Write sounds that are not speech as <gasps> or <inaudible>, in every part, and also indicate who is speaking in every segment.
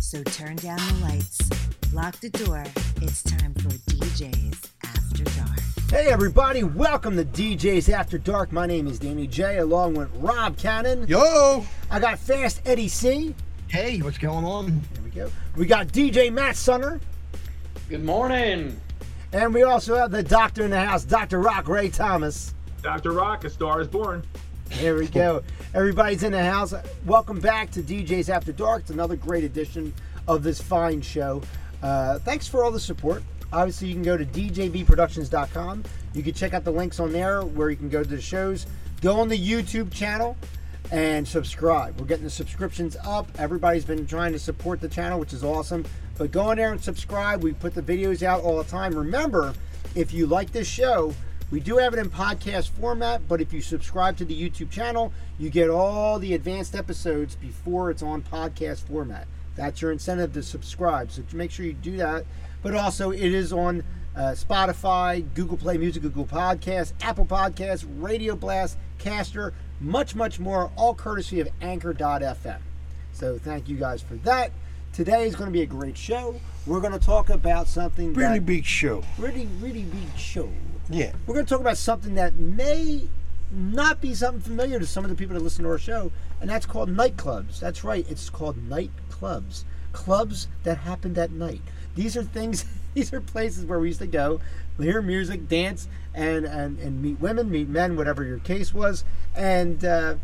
Speaker 1: So turn down the lights, lock the door. It's time for DJ's After Dark.
Speaker 2: Hey everybody, welcome to DJ's After Dark. My name is Danny J, along with Rob Cannon.
Speaker 3: Yo!
Speaker 2: I got Fast Eddie C.
Speaker 4: Hey, what's going on?
Speaker 2: There we go. We got DJ Matt Sunner,
Speaker 5: Good morning.
Speaker 2: and we also have the doctor in the house, Dr. Rock Ray Thomas.
Speaker 6: Dr. Rock, a star is born.
Speaker 2: There we go. Everybody's in the house. Welcome back to DJ's After Dark. It's another great edition of this fine show. Uh, thanks for all the support. Obviously, you can go to djbproductions.com. You can check out the links on there where you can go to the shows. Go on the YouTube channel and subscribe. We're getting the subscriptions up. Everybody's been trying to support the channel, which is awesome. But go in there and subscribe. We put the videos out all the time. Remember, if you like this show, we do have it in podcast format, but if you subscribe to the YouTube channel, you get all the advanced episodes before it's on podcast format. That's your incentive to subscribe. So make sure you do that. But also, it is on uh, Spotify, Google Play Music, Google Podcasts, Apple Podcasts, Radio Blast, Caster, much, much more, all courtesy of Anchor.fm. So thank you guys for that. Today is going to be a great show. We're going to talk about something
Speaker 3: Really
Speaker 2: that
Speaker 3: big show.
Speaker 2: really, really big show.
Speaker 3: Yeah.
Speaker 2: We're going to talk about something that may not be something familiar to some of the people that listen to our show, and that's called nightclubs. That's right, it's called nightclubs. Clubs that happened at night. These are things, <laughs> these are places where we used to go, hear music, dance, and, and, and meet women, meet men, whatever your case was, and uh,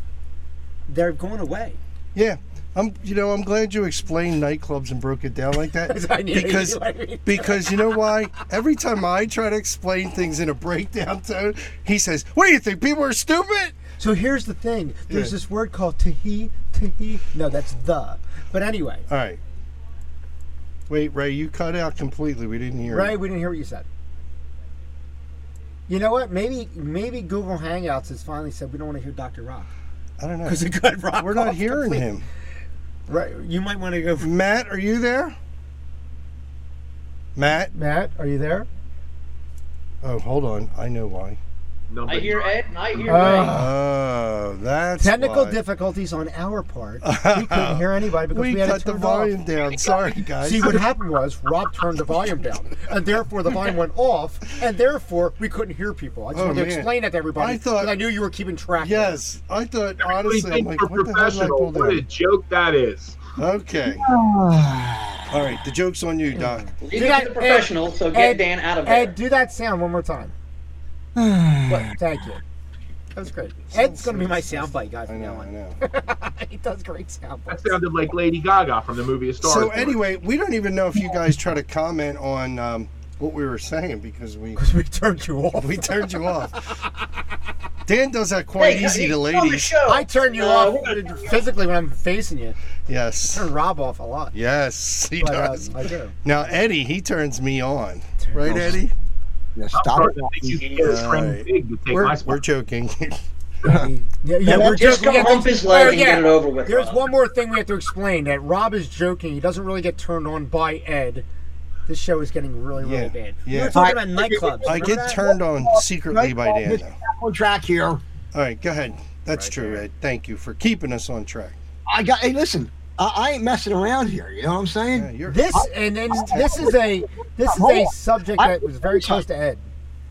Speaker 2: they're going away. <laughs>
Speaker 3: Yeah. I'm you know, I'm glad you explained nightclubs and broke it down like
Speaker 2: <laughs>
Speaker 3: that.
Speaker 2: I knew you
Speaker 3: because
Speaker 2: knew what I mean.
Speaker 3: because you know why? Every time I try to explain things in a breakdown tone, he says, What do you think? People are stupid?
Speaker 2: So here's the thing there's
Speaker 3: Yeah.
Speaker 2: this word called tahi, tahi. No, that's the. But anyway,
Speaker 3: Alright. Wait, Ray, you cut out completely. We didn't hear
Speaker 2: Ray,
Speaker 3: it.
Speaker 2: we didn't hear what you said. You know what? Maybe maybe Google Hangouts has finally said we don't want to hear Dr. Rock
Speaker 3: <laughs> I don't know.
Speaker 2: because it got rock.
Speaker 3: We're not
Speaker 2: off
Speaker 3: hearing
Speaker 2: completely.
Speaker 3: him.
Speaker 2: Right? You might want to go. For-
Speaker 3: Matt, are you there? Matt?
Speaker 2: Matt, are you there?
Speaker 3: Oh, hold on. I know why.
Speaker 6: Number
Speaker 5: I hear Ed and I hear
Speaker 2: Uh,
Speaker 5: Ray.
Speaker 3: Oh, that's
Speaker 2: Technical
Speaker 3: why.
Speaker 2: difficulties on our
Speaker 3: <laughs>
Speaker 2: part. We couldn't hear anybody because we,
Speaker 3: We
Speaker 2: had
Speaker 3: cut
Speaker 2: it
Speaker 3: the
Speaker 2: turned
Speaker 3: volume
Speaker 2: off.
Speaker 3: down. Sorry, guys.
Speaker 2: See what happened was Rob turned the volume down, and therefore the volume went off, and therefore we couldn't hear people. I just
Speaker 3: Oh,
Speaker 2: wanted to
Speaker 3: man.
Speaker 2: explain that to everybody.
Speaker 3: I thought-
Speaker 2: 'cause I knew you were keeping track.
Speaker 3: <laughs> Yes, I thought
Speaker 6: Everybody
Speaker 3: honestly, I'm
Speaker 6: thinks
Speaker 3: like,
Speaker 6: we're
Speaker 3: what the hell did I
Speaker 6: professional.
Speaker 3: pull
Speaker 6: What a
Speaker 3: down?
Speaker 6: joke that is.
Speaker 2: <sighs>
Speaker 3: Okay. All right, the joke's on you, Doc.
Speaker 5: Leave
Speaker 2: You
Speaker 5: it
Speaker 2: got-
Speaker 5: to the professionals, so get
Speaker 2: Ed-
Speaker 5: Dan out of there.
Speaker 2: Ed, do that sound one more
Speaker 5: <sighs>
Speaker 2: time. What? Thank you. That was great. Ed's gonna be my soundbite guy
Speaker 3: I
Speaker 2: from
Speaker 3: know,
Speaker 2: now
Speaker 3: I
Speaker 2: on.
Speaker 3: know.
Speaker 2: <laughs> he does great soundbites.
Speaker 6: That <laughs> sounded like Lady Gaga from the movie A Star
Speaker 3: So
Speaker 6: is Born.
Speaker 3: anyway, we don't even know if you guys try to comment on um, what we were saying because we
Speaker 2: we turned you off.
Speaker 3: we turned you off. Dan does that
Speaker 5: Hey,
Speaker 3: quite
Speaker 5: you-
Speaker 3: easy
Speaker 5: you
Speaker 3: to
Speaker 5: on the
Speaker 3: ladies.
Speaker 5: show.
Speaker 2: I turn you
Speaker 5: Uh,
Speaker 2: off
Speaker 5: we're gonna turn you off.
Speaker 2: physically when I'm facing you. I
Speaker 3: Yes,
Speaker 2: turn Rob off a lot.
Speaker 3: yes, he
Speaker 2: But uh,
Speaker 3: does.
Speaker 2: I
Speaker 5: <laughs>
Speaker 2: do.
Speaker 3: Now Eddie, he turns me on, right,
Speaker 4: off.
Speaker 3: Eddie?
Speaker 4: Yeah,
Speaker 6: I'm
Speaker 4: stop
Speaker 6: sorry,
Speaker 4: it.
Speaker 6: I think you can get a friend
Speaker 3: Alright.
Speaker 6: big to take my
Speaker 3: We're,
Speaker 6: spot.
Speaker 3: we're joking. <laughs>
Speaker 2: Yeah, yeah, we're
Speaker 5: Just
Speaker 2: joking.
Speaker 5: go
Speaker 2: We have
Speaker 5: hump
Speaker 2: to-
Speaker 5: his leg
Speaker 2: Oh,
Speaker 5: and get it over with.
Speaker 2: There's
Speaker 5: Rob.
Speaker 2: one more thing we have to explain that Rob is joking. He doesn't really get turned on by Ed. This show is getting really, really
Speaker 3: Yeah,
Speaker 2: bad.
Speaker 3: yeah.
Speaker 2: We were talking about nightclubs.
Speaker 3: I
Speaker 2: remember
Speaker 3: get
Speaker 2: that?
Speaker 3: turned on secretly by Dan.
Speaker 4: Just
Speaker 3: Though.
Speaker 4: On track here.
Speaker 3: All right, go ahead. That's true, Ed. Thank you for keeping us on track.
Speaker 4: I got. Hey, listen. I, I ain't messing around here. You know what I'm saying?
Speaker 3: Yeah, you're,
Speaker 2: This and then this is a this is a subject that was very close to Ed.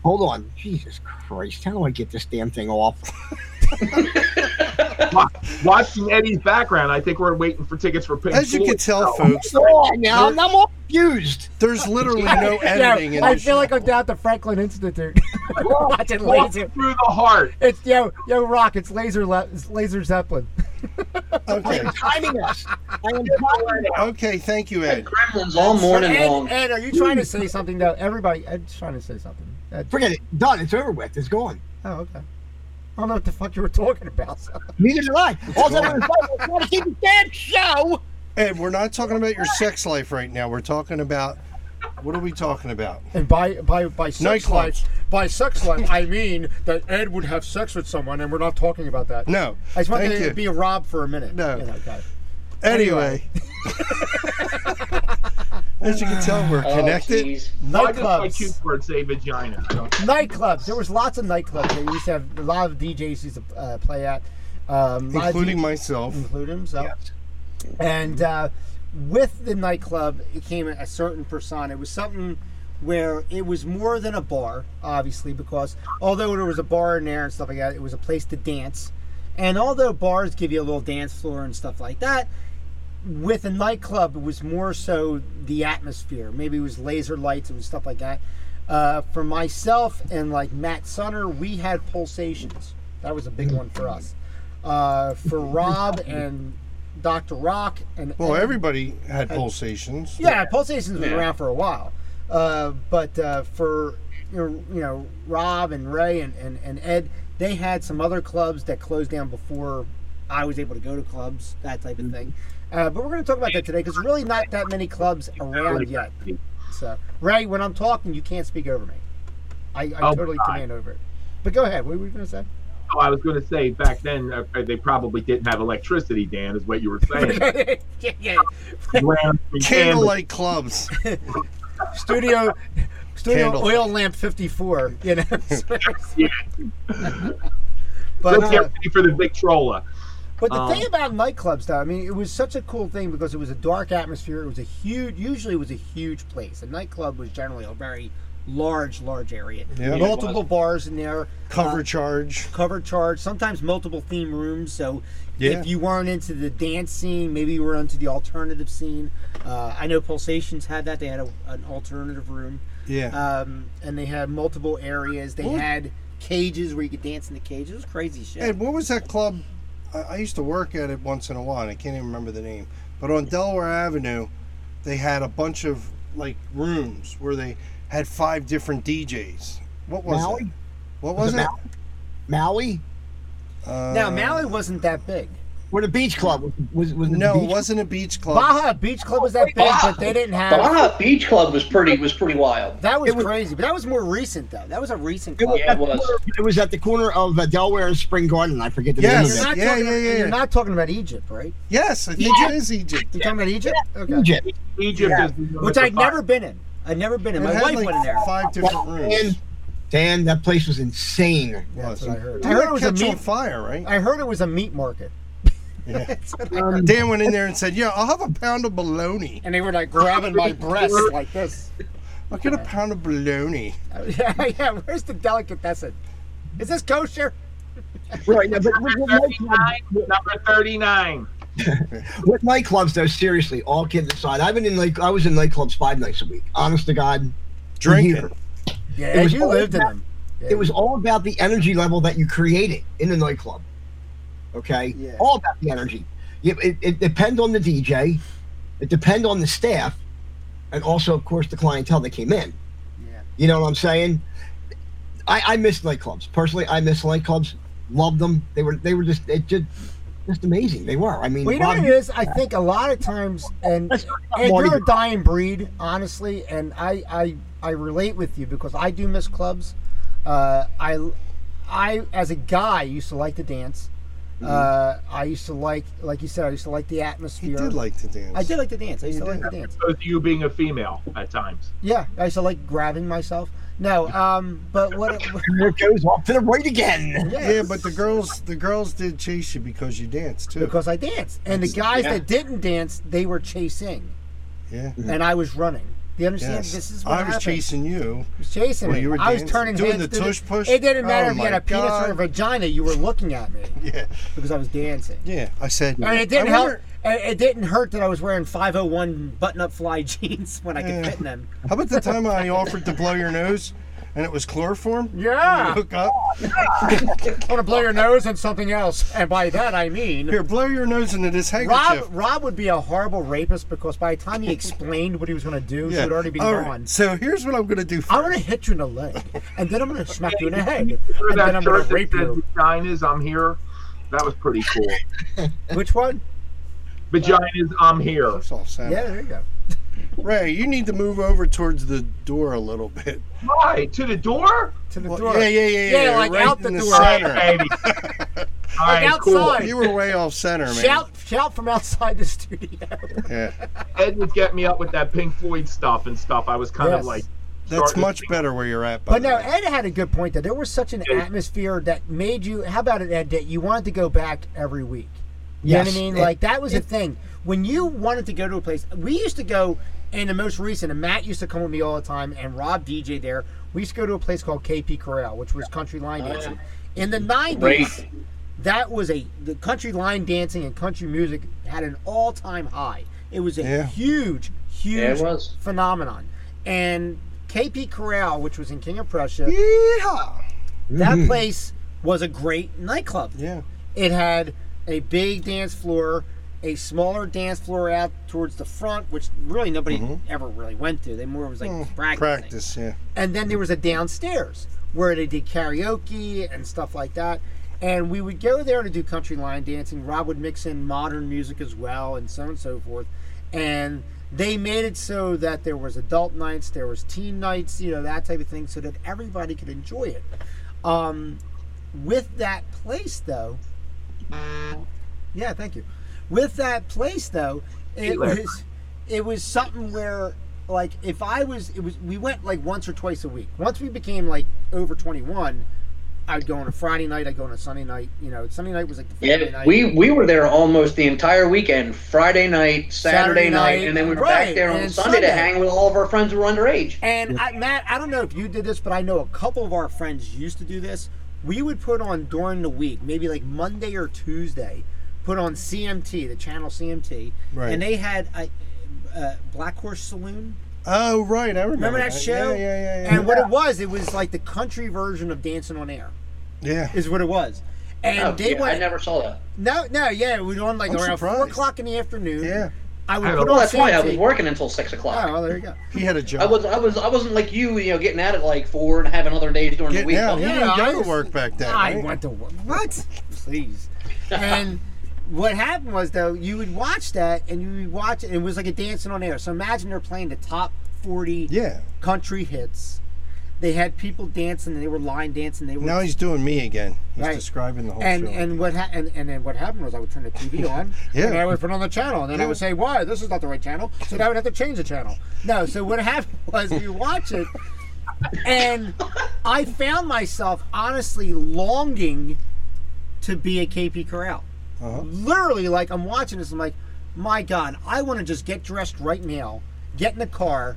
Speaker 4: Hold on. Jesus Christ. How do I get this damn
Speaker 3: <laughs>
Speaker 4: thing off?
Speaker 6: Wa- Watching Eddie's background, I think we're waiting for tickets for Pink
Speaker 3: as you can
Speaker 6: Floyd.
Speaker 3: tell,
Speaker 6: So,
Speaker 3: folks,
Speaker 4: Come on now. I'm all confused.
Speaker 3: there's literally no
Speaker 2: <laughs>
Speaker 3: editing in
Speaker 2: I
Speaker 3: this
Speaker 2: feel
Speaker 3: show.
Speaker 2: like I'm down at the Franklin
Speaker 3: <laughs>
Speaker 2: Institute watching
Speaker 6: walk
Speaker 2: laser.
Speaker 6: through the heart.
Speaker 2: It's yo yo rock. It's laser le- it's laser Zeppelin.
Speaker 3: okay.
Speaker 2: <laughs>
Speaker 4: Timing us. I
Speaker 3: <laughs>
Speaker 4: am timing us.
Speaker 3: okay, thank you, Ed.
Speaker 5: Gremlins all morning
Speaker 2: Ed,
Speaker 5: long.
Speaker 2: Ed, are you trying to say something to everybody? Ed's trying to say something. Ed,
Speaker 4: Forget it. Done. It's over with. It's gone.
Speaker 2: oh okay. I don't know what the fuck you were talking about. <laughs> so-
Speaker 4: Neither did I. All that I was saying was, "Gotta keep the damn show."
Speaker 3: Ed, we're not talking about your sex life right now. We're talking about what are we talking about?
Speaker 2: And by by by sex
Speaker 3: Nightclubs.
Speaker 2: life, by sex life, I mean that Ed would have sex with someone, and we're not talking about that.
Speaker 3: No.
Speaker 2: I just wanted
Speaker 3: thank
Speaker 2: to
Speaker 3: you.
Speaker 2: be a Rob for a minute.
Speaker 3: No.
Speaker 2: You know, okay.
Speaker 3: anyway. <laughs> as you can tell, we're
Speaker 5: Oh,
Speaker 3: connected.
Speaker 5: jeez.
Speaker 6: I just like
Speaker 2: Nightclubs.
Speaker 6: cute words say vagina. I don't
Speaker 2: nightclubs. There was lots of nightclubs. They used to have a lot of DJs used to uh, play at, um, a lot of
Speaker 3: including
Speaker 2: DJs
Speaker 3: myself.
Speaker 2: include himself. And uh, with the nightclub, it came a certain persona. It was something where it was more than a bar, obviously, because although there was a bar in there and stuff like that, it was a place to dance. And although bars give you a little dance floor and stuff like that, with a nightclub, it was more so the atmosphere. Maybe it was laser lights and stuff like that. Uh, for myself and like Matt Sunner, we had pulsations. That was a big one for us. Uh, for Rob and Dr. Rock and
Speaker 3: Well, everybody had pulsations.
Speaker 2: yeah, pulsations been
Speaker 5: Yeah.
Speaker 2: around for a while. Uh, but uh, for you know, you know Rob and Ray and, and, and Ed, they had some other clubs that closed down before I was able to go to clubs, that type of thing. Uh, but we're going to talk about that today because really not that many clubs around yet. So Ray, when I'm talking, you can't speak over me. I, I
Speaker 6: Oh,
Speaker 2: totally
Speaker 6: God.
Speaker 2: command over it. But go ahead. What were you going to say?
Speaker 6: Oh, I was going to say back then uh, they probably didn't have electricity. Dan is what you were
Speaker 3: <laughs>
Speaker 6: saying.
Speaker 2: yeah, yeah.
Speaker 6: Lamps and candles.
Speaker 3: Candlelight clubs.
Speaker 2: Studio, studio
Speaker 3: Candle.
Speaker 2: oil lamp 54. You know.
Speaker 6: Yeah.
Speaker 2: but
Speaker 6: Let's
Speaker 2: uh,
Speaker 6: get ready for the Victrola.
Speaker 2: But the
Speaker 6: Um,
Speaker 2: thing about nightclubs, though, I mean, it was such a cool thing because it was a dark atmosphere. It was a huge, usually it was a huge place. A nightclub was generally a very large, large area.
Speaker 3: Yeah.
Speaker 2: Multiple bars in there, <laughs>
Speaker 3: Cover charge.
Speaker 2: cover charge, sometimes multiple theme rooms. So
Speaker 3: Yeah.
Speaker 2: if you weren't into the dance scene, maybe you were into the alternative scene. Uh, I know Pulsations had that. They had a, an alternative room.
Speaker 3: Yeah.
Speaker 2: Um, and they had multiple areas. They
Speaker 3: Ooh.
Speaker 2: had cages where you could dance in the cage. It was crazy shit.
Speaker 3: Ed, what was that club? I, I used to work at it once in a while. And I can't even remember the name. But on Delaware Avenue, they had a bunch of like rooms where they had five different DJs. What was it?
Speaker 4: Maui?
Speaker 3: What was
Speaker 4: it
Speaker 3: it?
Speaker 4: Maui?
Speaker 3: Uh,
Speaker 2: now, Maui wasn't that big.
Speaker 4: Or the beach club? Was, was, was it
Speaker 3: No,
Speaker 4: the
Speaker 3: it
Speaker 4: beach
Speaker 3: wasn't a beach club.
Speaker 2: Baja Beach Club was that big,
Speaker 5: Baja-
Speaker 2: but they didn't have.
Speaker 5: Baja Beach Club was pretty was pretty wild.
Speaker 2: That was,
Speaker 4: It was-
Speaker 2: crazy, but that was more recent though. That was a recent
Speaker 4: It
Speaker 2: club.
Speaker 4: was,
Speaker 5: Yeah, it
Speaker 4: at the
Speaker 5: was.
Speaker 4: corner- it was at the corner of uh, Delaware and Spring Garden. I forget the
Speaker 3: Yes.
Speaker 2: You're
Speaker 4: name of
Speaker 2: not
Speaker 3: Yeah,
Speaker 2: talking,
Speaker 3: yeah, yeah,
Speaker 2: You're
Speaker 3: yeah.
Speaker 2: not talking about Egypt, right?
Speaker 3: Yes, I think
Speaker 4: Yeah.
Speaker 3: it is Egypt.
Speaker 2: You're talking about Egypt,
Speaker 4: it.
Speaker 2: okay?
Speaker 4: Egypt.
Speaker 6: Egypt
Speaker 2: Yeah.
Speaker 6: is the
Speaker 2: Which
Speaker 6: the
Speaker 2: I'd
Speaker 6: fi-
Speaker 2: never been in. I'd never been in.
Speaker 3: It
Speaker 2: My
Speaker 3: had,
Speaker 2: wife
Speaker 3: like,
Speaker 2: went in there.
Speaker 3: Five different rooms.
Speaker 4: Dan, Dan, that place was insane.
Speaker 2: Yeah, that's
Speaker 3: was.
Speaker 2: what I heard.
Speaker 3: Did
Speaker 2: I heard
Speaker 3: that
Speaker 2: it was a
Speaker 3: catch on
Speaker 2: meat.
Speaker 3: fire, right?
Speaker 2: I heard it was a meat market.
Speaker 3: Yeah.
Speaker 2: That's what I heard.
Speaker 4: Um,
Speaker 3: Dan went in there and said, "Yeah, I'll have a pound of bologna.
Speaker 2: and they were like grabbing <laughs> my breast like this.
Speaker 3: I'll get a pound of bologna."
Speaker 2: <laughs> yeah, yeah. Where's the delicatessen? Is this kosher?
Speaker 4: right, yeah, but what, what, nightclub-
Speaker 6: 39, number 39.
Speaker 4: what nightclubs, though, seriously, all kidding aside, I've been in like I was in nightclubs five nights a week. Honest to God,
Speaker 3: Drinking.
Speaker 4: Here.
Speaker 2: Yeah,
Speaker 4: was
Speaker 2: you
Speaker 4: all
Speaker 2: lived in
Speaker 4: about-
Speaker 2: them.
Speaker 4: it was all about the energy level that you created in the nightclub. Okay,
Speaker 2: Yeah.
Speaker 4: all about the energy. It, it, it depends on the DJ, it depends on the staff, and also, of course, the clientele that came in.
Speaker 2: Yeah.
Speaker 4: You know what I'm saying? I, I miss nightclubs personally. I miss nightclubs. Loved them. They were they were just it just just amazing. They were. I mean,
Speaker 2: Well, you know what
Speaker 4: Rob-
Speaker 2: it is? I think a lot of times, and
Speaker 4: Let's talk about
Speaker 2: and
Speaker 4: Mardi
Speaker 2: you're a
Speaker 4: Gras.
Speaker 2: dying breed, honestly, and I I, I relate with you because I do miss clubs. Uh, I I as a guy used to like to dance. Uh, I used to like, like you said, I used to like the atmosphere.
Speaker 3: Mm-hmm. He did like to dance.
Speaker 2: I did like to dance. I used
Speaker 3: You
Speaker 2: to like to
Speaker 3: did.
Speaker 2: dance.
Speaker 6: Opposed to you being a female at times.
Speaker 2: Yeah, I used to like grabbing myself. No, um, but what? It,
Speaker 4: There it goes off to the right again.
Speaker 3: <laughs> Yeah, but the girls, the girls did chase you because you danced too.
Speaker 2: because I danced, and the guys that didn't dance, they were chasing,
Speaker 3: yeah.
Speaker 2: and I was running. Do you understand?
Speaker 3: Mm-hmm. Yes.
Speaker 2: This is what
Speaker 3: I was
Speaker 2: happened.
Speaker 3: chasing you.
Speaker 2: was chasing
Speaker 3: Well,
Speaker 2: me.
Speaker 3: you were
Speaker 2: I was
Speaker 3: dancing-
Speaker 2: turning
Speaker 3: doing
Speaker 2: heads
Speaker 3: the
Speaker 2: through
Speaker 3: tush push?
Speaker 2: It didn't
Speaker 3: Oh
Speaker 2: matter if you
Speaker 3: my
Speaker 2: had a penis or a
Speaker 3: God.
Speaker 2: vagina. You were looking at me
Speaker 3: <laughs> Yeah.
Speaker 2: because I was dancing.
Speaker 3: Yeah. I said.
Speaker 2: And it didn't
Speaker 3: I
Speaker 2: help.
Speaker 3: wonder-
Speaker 2: and It didn't hurt that I was wearing 501 button-up fly <laughs> jeans when I could
Speaker 3: Yeah.
Speaker 2: fit in them.
Speaker 3: How about the time I offered to blow your nose, and it
Speaker 2: <laughs>
Speaker 3: was chloroform? You
Speaker 2: Yeah,
Speaker 3: Hook up.
Speaker 2: I want to blow your nose and something else, and by that I mean.
Speaker 3: Here, blow your nose into this handkerchief.
Speaker 2: Rob, Rob would be a horrible rapist because by the time he explained what he was going to do, she would already be
Speaker 3: All right,
Speaker 2: gone.
Speaker 3: So here's what I'm gonna do.
Speaker 2: I'm
Speaker 3: For
Speaker 2: going to hit you in the leg, and then I'm going to smack you in the head,
Speaker 6: Remember
Speaker 2: and then
Speaker 6: that
Speaker 2: I'm
Speaker 6: shirt
Speaker 2: going to
Speaker 6: that
Speaker 2: rape
Speaker 6: says
Speaker 2: you.
Speaker 6: vaginas, I'm here? That was pretty cool.
Speaker 2: Which one?
Speaker 6: Vaginas, I'm here.
Speaker 3: It's all sad.
Speaker 2: Yeah, there you go.
Speaker 3: Ray, you need to move over towards the door a little bit.
Speaker 6: Why? To the door?
Speaker 2: To the
Speaker 3: Well,
Speaker 2: door.
Speaker 3: yeah, yeah, yeah,
Speaker 2: Yeah,
Speaker 3: yeah.
Speaker 2: like
Speaker 3: right
Speaker 2: out
Speaker 3: in
Speaker 2: the
Speaker 3: the
Speaker 2: door.
Speaker 6: Right,
Speaker 3: center.
Speaker 2: <laughs>
Speaker 6: baby. All right, cool.
Speaker 2: outside.
Speaker 3: You were way off center, man.
Speaker 2: Shout, shout from outside the <laughs> studio.
Speaker 3: Yeah.
Speaker 6: Ed would get me up with that Pink Floyd stuff and stuff. I was kind
Speaker 2: Yes.
Speaker 6: of like,
Speaker 3: That's
Speaker 6: starting to
Speaker 3: much
Speaker 6: think,
Speaker 3: better where you're at. By
Speaker 2: But
Speaker 3: the
Speaker 2: no,
Speaker 3: way.
Speaker 2: Ed had a good point that there was such an
Speaker 6: Yeah.
Speaker 2: atmosphere that made you. How about it, Ed? That you wanted to go back every week. You know
Speaker 4: Yes.
Speaker 2: what I mean?
Speaker 4: It-
Speaker 2: Like that was a thing. when you wanted to go to a place, we used to go, and the most recent, and Matt used to come with me all the time, and Rob DJ there. We used to go to a place called KP Corral, which was country line
Speaker 5: Oh, yeah.
Speaker 2: dancing. In the nineties,
Speaker 5: Great.
Speaker 2: that was a the country line dancing and country music had an all time high. It was a
Speaker 3: Yeah.
Speaker 2: huge, huge
Speaker 5: Yeah, it was.
Speaker 2: phenomenon. And KP Corral, which was in King of Prussia,
Speaker 3: Yeehaw! Mm-hmm.
Speaker 2: that place was a great nightclub.
Speaker 3: Yeah.
Speaker 2: It had a big dance floor, a smaller dance floor out towards the front, which really nobody
Speaker 3: Mm-hmm.
Speaker 2: ever really went to. They more was like
Speaker 3: Mm.
Speaker 2: practicing.
Speaker 3: Practice, yeah.
Speaker 2: And then there was a downstairs where they did karaoke and stuff like that. And we would go there to do country line dancing. Rob would mix in modern music as well, and so on and so forth. And they made it so that there was adult nights, there was teen nights, you know, that type of thing, so that everybody could enjoy it. Um, with that place, though, yeah, thank you. With that place, though, it
Speaker 6: Taylor.
Speaker 2: was it was something where like if I was it was we went like once or twice a week. Once we became like over twenty one, I'd go on a Friday night, I'd go on a Sunday night, you know, Sunday night was like the Friday
Speaker 5: Yeah,
Speaker 2: night.
Speaker 5: we we were there almost the entire weekend, Friday night, Saturday,
Speaker 2: Saturday
Speaker 5: night,
Speaker 2: night,
Speaker 5: and then we were
Speaker 2: right,
Speaker 5: back there on
Speaker 2: and
Speaker 5: Sunday,
Speaker 2: Sunday.
Speaker 5: to hang with all of our friends who were underage.
Speaker 2: and I, Matt, I don't know if you did this, but I know a couple of our friends used to do this. We would put on during the week, maybe like Monday or Tuesday, put on CMT, the channel CMT,
Speaker 3: Right.
Speaker 2: and they had a, a Black Horse Saloon.
Speaker 3: Oh, right. I remember,
Speaker 2: Remember that show?
Speaker 3: Yeah, yeah, yeah.
Speaker 2: And
Speaker 3: Yeah.
Speaker 2: what it was, it was like the country version of Dancing on Air,
Speaker 3: yeah.
Speaker 2: is what it was. And
Speaker 5: Oh,
Speaker 2: they
Speaker 5: yeah,
Speaker 2: went
Speaker 5: I never saw that.
Speaker 2: no, no, yeah, we were on like
Speaker 3: I'm
Speaker 2: around four
Speaker 3: surprised.
Speaker 2: o'clock in the afternoon.
Speaker 3: Yeah.
Speaker 2: I would
Speaker 6: I
Speaker 2: put
Speaker 6: don't-
Speaker 5: Well,
Speaker 2: on
Speaker 5: that's why I
Speaker 2: CMT.
Speaker 5: was working until six o'clock.
Speaker 2: Oh, well, there you go.
Speaker 3: He had a
Speaker 5: I
Speaker 3: job.
Speaker 5: was I was I wasn't like you, you know, getting out at like four and having other days during the
Speaker 3: Getting
Speaker 5: week.
Speaker 3: out. You
Speaker 2: Yeah,
Speaker 3: didn't
Speaker 2: I
Speaker 3: go
Speaker 2: was-
Speaker 3: to work back then.
Speaker 2: I
Speaker 3: right?
Speaker 2: went to work. What?
Speaker 3: <laughs>
Speaker 2: Please. And what happened was though, you would watch that, and you would watch it, and it was like a dancing on air. So imagine they're playing the top forty
Speaker 3: Yeah.
Speaker 2: country hits. They had people dancing, and they were line dancing. They were
Speaker 3: Now he's doing me again. He's
Speaker 2: Right.
Speaker 3: describing the whole
Speaker 2: and
Speaker 3: show.
Speaker 2: and what ha- and, and then what happened was I would turn the TV
Speaker 3: <laughs>
Speaker 2: on,
Speaker 3: Yeah.
Speaker 2: and I would put on the channel, and then I would say, "Why this is not the right channel?" So then I would have to change the channel. No, so what <laughs> happened was you watch it, and I found myself honestly longing to be a KP Corral.
Speaker 3: Uh-huh.
Speaker 2: Literally, like I'm watching this, I'm like, "My God, I want to just get dressed right now, get in the car,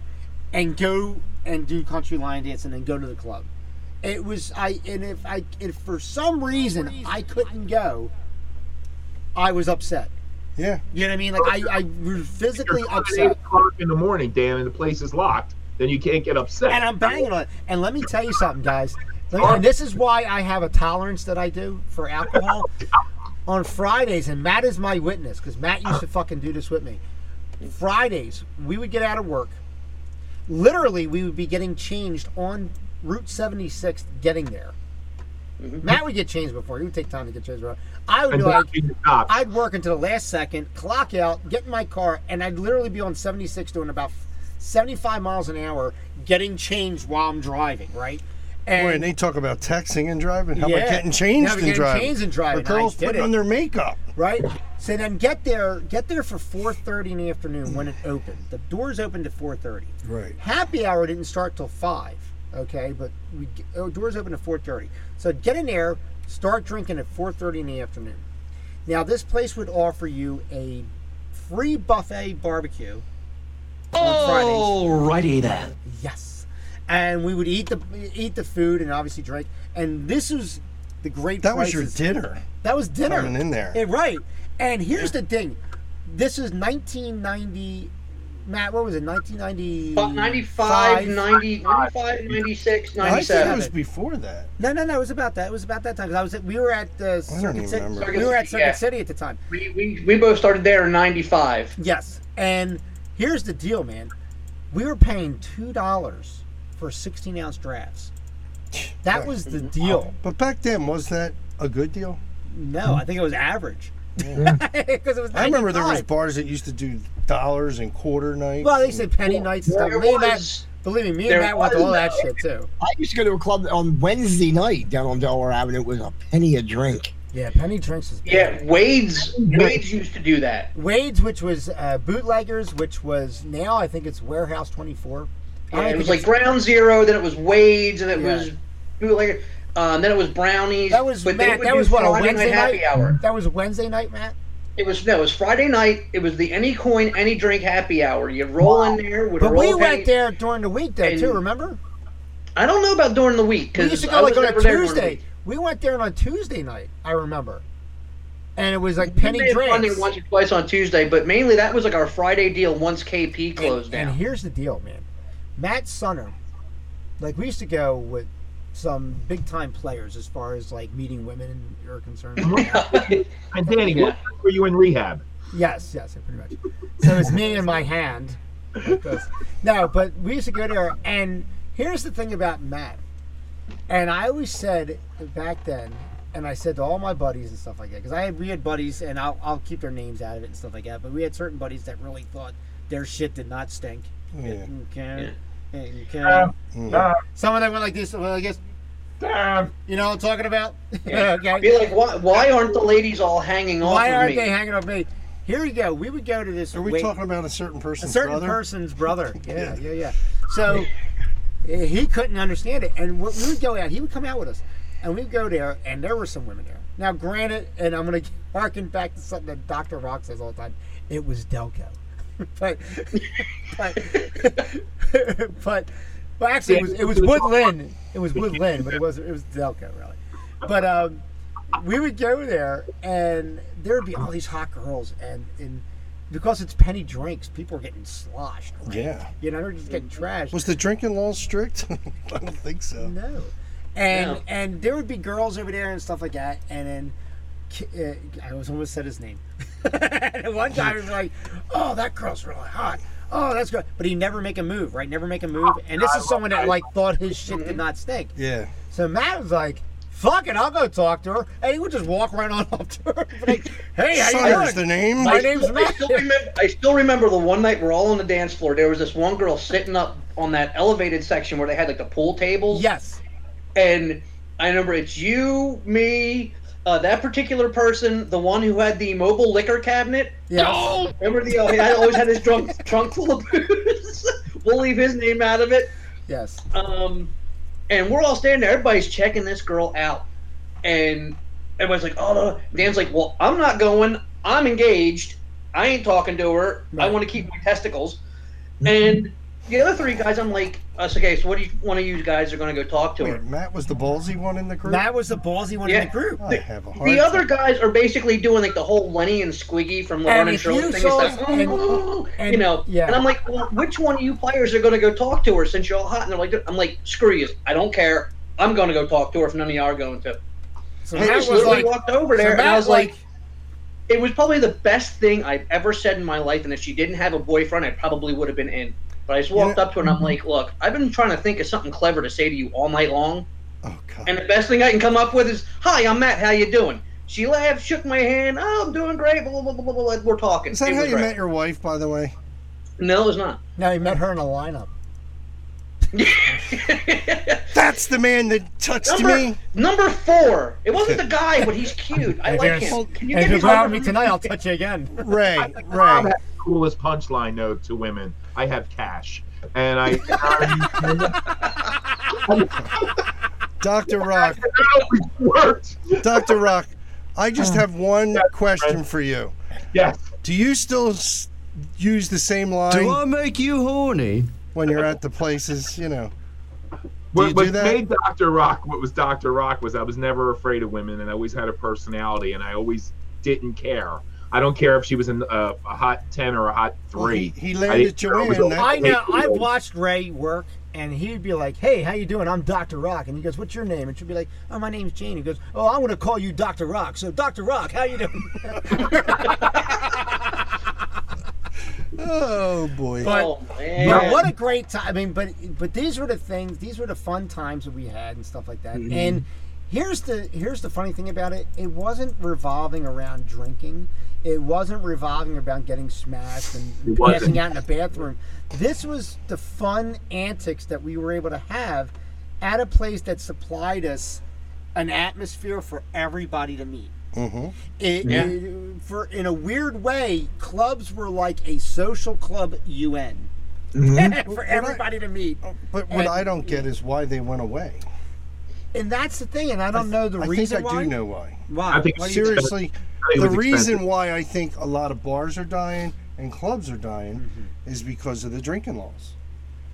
Speaker 2: and go and do country line dance, and then go to the club." It was I, and if I, if for some reason I couldn't go, I was upset.
Speaker 3: yeah.
Speaker 2: You know what I mean? Like I, I was physically
Speaker 6: You're at eight
Speaker 2: upset,
Speaker 6: o'clock in the morning, Dan, and the place is locked. Then you can't get <laughs> upset.
Speaker 2: and I'm banging on it. And let me tell you something, guys. Let me- and this is why I have a tolerance that I do for alcohol on Fridays, and Matt is my witness because Matt used to fucking do this with me. Fridays, we would get out of work. Literally, we would be getting changed on Route 76 getting there. Matt would get changed before. He would take time to get changed. Before. I would
Speaker 6: And
Speaker 2: be like,
Speaker 6: that being the cops.
Speaker 2: I'd work until the last second, clock out, get in my car, and I'd literally be on 76 doing about 75 miles an hour, getting changed while I'm driving, right?
Speaker 3: Boy, and they talk about texting and driving. How about
Speaker 2: Yeah.
Speaker 3: getting changed
Speaker 2: How about
Speaker 3: and
Speaker 2: getting
Speaker 3: driving?
Speaker 2: changed and driving.
Speaker 3: Or girls
Speaker 2: I did
Speaker 3: putting
Speaker 2: it.
Speaker 3: on their makeup.
Speaker 2: right? So then get there, get there for 4:30 in the afternoon when it opened. The doors opened at 4:30.
Speaker 3: Right.
Speaker 2: Happy hour didn't start till five. Okay, but we oh, doors open at 4:30. So get in there, start drinking at 4:30 in the afternoon. Now this place would offer you a free buffet barbecue on Fridays.
Speaker 7: Alrighty then.
Speaker 2: Yes. And we would eat the eat the food and obviously drink. And this was the great
Speaker 3: That was your
Speaker 2: prices.
Speaker 3: dinner.
Speaker 2: That was dinner.
Speaker 3: Coming in there.
Speaker 2: Yeah, right. And here's the thing. This is 1990. Matt, what was it? 1990.
Speaker 5: About 95,
Speaker 2: Five.
Speaker 5: 90, 95, 96,
Speaker 3: I think it
Speaker 5: 97.
Speaker 3: was before that.
Speaker 2: No, no, no. It was about that. It was about that time. 'Cause I was. At, we were at the.
Speaker 3: I don't
Speaker 2: Circuit
Speaker 3: even
Speaker 2: City.
Speaker 3: remember.
Speaker 2: We were at Circuit
Speaker 5: Yeah.
Speaker 2: City at the time.
Speaker 5: We, we, we both started there in 95.
Speaker 2: Yes. And here's the deal, man. We were paying two dollars for 16 ounce drafts. That was the deal.
Speaker 3: But back then, was that a good deal?
Speaker 2: No, I think it was average. <laughs> Because it was.
Speaker 3: I remember there was
Speaker 2: 95.
Speaker 3: bars that used to do dollars and quarter nights.
Speaker 2: Well, they said penny nights and stuff.
Speaker 5: There
Speaker 2: Me and Matt,
Speaker 5: was-
Speaker 2: believe me, me and
Speaker 5: there
Speaker 2: Matt went to all
Speaker 5: was
Speaker 2: that
Speaker 5: no-
Speaker 2: shit too.
Speaker 4: I used to go to a club on Wednesday night down on Delaware Avenue. It was a penny a drink.
Speaker 2: Yeah, penny drinks is.
Speaker 5: Yeah, Wade's Wade's used to do that.
Speaker 2: Wade's, which was uh, bootleggers, which was now I think it's Warehouse 24. I don't
Speaker 5: it was
Speaker 2: think
Speaker 5: like
Speaker 2: it's-
Speaker 5: Ground Zero, then it was Wade's, and it
Speaker 2: Yeah.
Speaker 5: was bootlegger. Um, then it was Brownies.
Speaker 2: that was
Speaker 5: but they
Speaker 2: Matt.
Speaker 5: would
Speaker 2: That
Speaker 5: do
Speaker 2: was what a
Speaker 5: Friday
Speaker 2: Wednesday night.
Speaker 5: happy hour.
Speaker 2: That was Wednesday night, Matt.
Speaker 5: It was no, it was Friday night. It was the any coin, any drink happy hour. You roll in there with a
Speaker 2: But
Speaker 5: roll
Speaker 2: we
Speaker 5: of
Speaker 2: went
Speaker 5: pennies.
Speaker 2: there during the week though too.
Speaker 5: And-
Speaker 2: Remember?
Speaker 5: I don't know about during the week
Speaker 2: We
Speaker 5: because
Speaker 2: used to go like on a Tuesday. We went there on a Tuesday night. I remember, and it was like penny
Speaker 5: Gone there
Speaker 2: drinks.
Speaker 5: once or twice on Tuesday, but mainly that was like our Friday deal once KP closed
Speaker 2: and, and
Speaker 5: down. <laughs>
Speaker 2: here's the deal, man. Matt Sunner, like we used to go with some big time players as far as like meeting women are concerned.
Speaker 6: And Danny, what time were you in rehab?
Speaker 2: yes, yes, pretty much. So it's me and my hand. like this. No, but we used to go there, and here's the thing about Matt. And I always said back then, and I said to all my buddies and stuff like that, because I had, we had buddies, and I'll, I'll keep their names out of it and stuff like that. But we had certain buddies that really thought their shit did not stink.
Speaker 3: Yeah.
Speaker 2: Okay. Okay.
Speaker 6: Yeah.
Speaker 3: Mm.
Speaker 6: Uh,
Speaker 2: Some of them Um, went like this. Well, I guess
Speaker 6: Damn.
Speaker 2: you know what I'm talking about.
Speaker 5: Yeah.
Speaker 2: <laughs> okay.
Speaker 5: Be like, why, why aren't the ladies all hanging off
Speaker 2: Why
Speaker 5: of
Speaker 2: aren't
Speaker 5: me?
Speaker 2: they hanging on me? Here you go. We would go to this.
Speaker 3: Are we
Speaker 2: wait-
Speaker 3: talking about a certain
Speaker 2: a
Speaker 3: person's
Speaker 2: certain
Speaker 3: brother?
Speaker 2: person's
Speaker 3: <laughs>
Speaker 2: brother? Yeah,
Speaker 3: Yeah.
Speaker 2: yeah, yeah. So eh, he couldn't understand it, and what we would go out. He would come out with us, and we'd go there, and there were some women there. Now, granted, and I'm gonna <laughs> harken back to something that Doctor Rock says all the time. It was Delco, but but <laughs> but well, actually, it was it was Woodland. It was Woodland, but it was it was Delco really. But um, we would go there, and there would be all these hot girls, and and because it's penny drinks, people are getting sloshed. right?
Speaker 3: Yeah.
Speaker 2: You know, they're just getting trashed.
Speaker 3: Was the drinking law strict? <laughs> I don't think so.
Speaker 2: No. And
Speaker 5: No.
Speaker 2: and there would be girls over there and stuff like that. And then ki- uh, I was almost said his name. <laughs> and one guy was like, "Oh, that girl's really hot. Oh, that's good." But he never make a move, right? Never make a move. And this is someone that like thought his shit
Speaker 5: Mm-hmm.
Speaker 2: did not stink.
Speaker 3: Yeah.
Speaker 2: So Matt was like. Fuck it, I'll go talk to her. And he would just walk right on <laughs> up to her. Like, hey, how you
Speaker 3: Sunner's
Speaker 2: doing?
Speaker 3: the name.
Speaker 2: My name's
Speaker 5: I
Speaker 2: Matt.
Speaker 5: still, remember, I still remember the one night we're all on the dance floor. There was this one girl sitting up on that elevated section where they had like the pool tables.
Speaker 2: Yes.
Speaker 5: And I remember it's you, me, uh, that particular person, the one who had the mobile liquor cabinet.
Speaker 2: Yes.
Speaker 5: Remember the? Uh, he had- always had his drunk trunk full of booze. <laughs> we'll leave his name out of it.
Speaker 2: Yes.
Speaker 5: Um, and we're all standing there. Everybody's checking this girl out, and everybody's like, "Oh no!" Dan's like, "Well, I'm not going. I'm engaged. I ain't talking to her. I
Speaker 2: Right.
Speaker 5: want to keep my testicles." And the other three guys, I'm like, "Us okay? So what do you one of you guys are going to go talk to
Speaker 3: Wait,
Speaker 5: her?"
Speaker 3: Matt was the ballsy one in the group.
Speaker 2: Matt was the ballsy one
Speaker 5: Yeah.
Speaker 2: in the group.
Speaker 3: I have a hard
Speaker 5: The other
Speaker 3: time.
Speaker 5: guys are basically doing like the whole Lenny and Squiggy from Laverne
Speaker 2: And
Speaker 5: and
Speaker 2: if
Speaker 5: Shirley
Speaker 2: you
Speaker 5: thing.
Speaker 2: saw-
Speaker 5: it's like,
Speaker 2: and-
Speaker 5: "Oh,"
Speaker 2: and-
Speaker 5: <gasps> you know,
Speaker 2: yeah.
Speaker 5: and I'm like, well, which one of you players are going to go talk to her since you're all hot? And they're like, I'm like, screw you, I don't care. I'm going to go talk to her if none of y'all are going to.
Speaker 2: So
Speaker 5: I
Speaker 2: Matt
Speaker 5: just
Speaker 2: was
Speaker 5: literally
Speaker 2: like,
Speaker 5: walked over
Speaker 2: so
Speaker 5: there, and I
Speaker 2: Matt
Speaker 5: was like, it was probably the best thing I've ever said in my life. And if she didn't have a boyfriend, I probably would have been in. But I just walked
Speaker 3: Yeah.
Speaker 5: up to her and I'm like, look, I've been trying to think of something clever to say to you all night long,
Speaker 3: Oh god.
Speaker 5: and the best thing I can come up with is, "Hi, I'm Matt. How you doing?" She laughed, shook my hand. Oh, I'm doing great. Blah blah blah blah blah. blah. We're talking.
Speaker 3: Is that
Speaker 5: It
Speaker 3: how
Speaker 5: was
Speaker 3: you
Speaker 5: great.
Speaker 3: met your wife, by the way?
Speaker 5: No, it's not.
Speaker 2: no, he met her in a lineup.
Speaker 3: That's the man that touched
Speaker 5: number <laughs>
Speaker 3: me.
Speaker 5: number four. It wasn't the guy, but he's cute. I
Speaker 2: Hey,
Speaker 5: like
Speaker 2: there's-
Speaker 5: him. Can you
Speaker 2: And
Speaker 5: give
Speaker 2: if you
Speaker 5: me
Speaker 2: ground
Speaker 5: some?
Speaker 2: me tonight, I'll touch you again.
Speaker 3: Ray,
Speaker 6: Bob
Speaker 3: Ray.
Speaker 6: has the coolest punchline though to women. I have cash, and I.
Speaker 3: Dr. Rock.
Speaker 6: it <laughs> worked.
Speaker 3: Dr. Rock, I just have one question for you.
Speaker 6: Yes.
Speaker 3: Do you still s- use the same
Speaker 7: Do I
Speaker 3: line
Speaker 7: make you horny?
Speaker 3: when you're at the places, you know? Do you
Speaker 6: What,
Speaker 3: do
Speaker 6: what
Speaker 3: that?
Speaker 6: made Dr. Rock what was Dr. Rock was I was never afraid of women and I always had a personality and I always didn't care. I don't care if she was an, uh, a hot 10 or a hot 3.
Speaker 3: Well, he, he
Speaker 6: I
Speaker 3: landed
Speaker 6: didn't care.
Speaker 3: you
Speaker 6: It was
Speaker 3: in.
Speaker 6: a-
Speaker 3: That,
Speaker 2: I know.
Speaker 6: Hey,
Speaker 2: I've
Speaker 6: Ray.
Speaker 2: watched Ray work, and he'd be like, "Hey, how you doing? I'm Doctor Rock," and he goes, "What's your name?" And she'd be like, "Oh, my name's Jane." He goes, "Oh, I'm gonna call you Doctor Rock." So, Doctor Rock, how you doing?
Speaker 3: oh, boy.
Speaker 2: But-
Speaker 5: Oh man.
Speaker 2: But what a great time! I mean, but but these were the things. These were the fun times that we had and stuff like that.
Speaker 6: Mm-hmm.
Speaker 2: And here's the here's the funny thing about it. It wasn't revolving around drinking. It wasn't revolving around getting smashed and
Speaker 6: It wasn't.
Speaker 2: passing out in the bathroom. This was the fun antics that we were able to have at a place that supplied us an atmosphere for everybody to meet
Speaker 3: hmm
Speaker 2: it,
Speaker 5: Yeah.
Speaker 2: it- for in a weird way, clubs were like a social club UN <laughs> for everybody to meet,
Speaker 3: But what
Speaker 2: And-
Speaker 3: I don't get is why they went away.
Speaker 2: and that's the thing. And I don't know the
Speaker 3: I think
Speaker 2: reason
Speaker 3: I
Speaker 2: why.
Speaker 3: do know why.
Speaker 2: Why?
Speaker 6: I think
Speaker 2: Why do you-
Speaker 3: Seriously,
Speaker 6: it
Speaker 3: the
Speaker 6: was
Speaker 3: reason
Speaker 6: expensive.
Speaker 3: why I think a lot of bars are dying and clubs are dying
Speaker 2: Mm-hmm.
Speaker 3: is because of the drinking laws.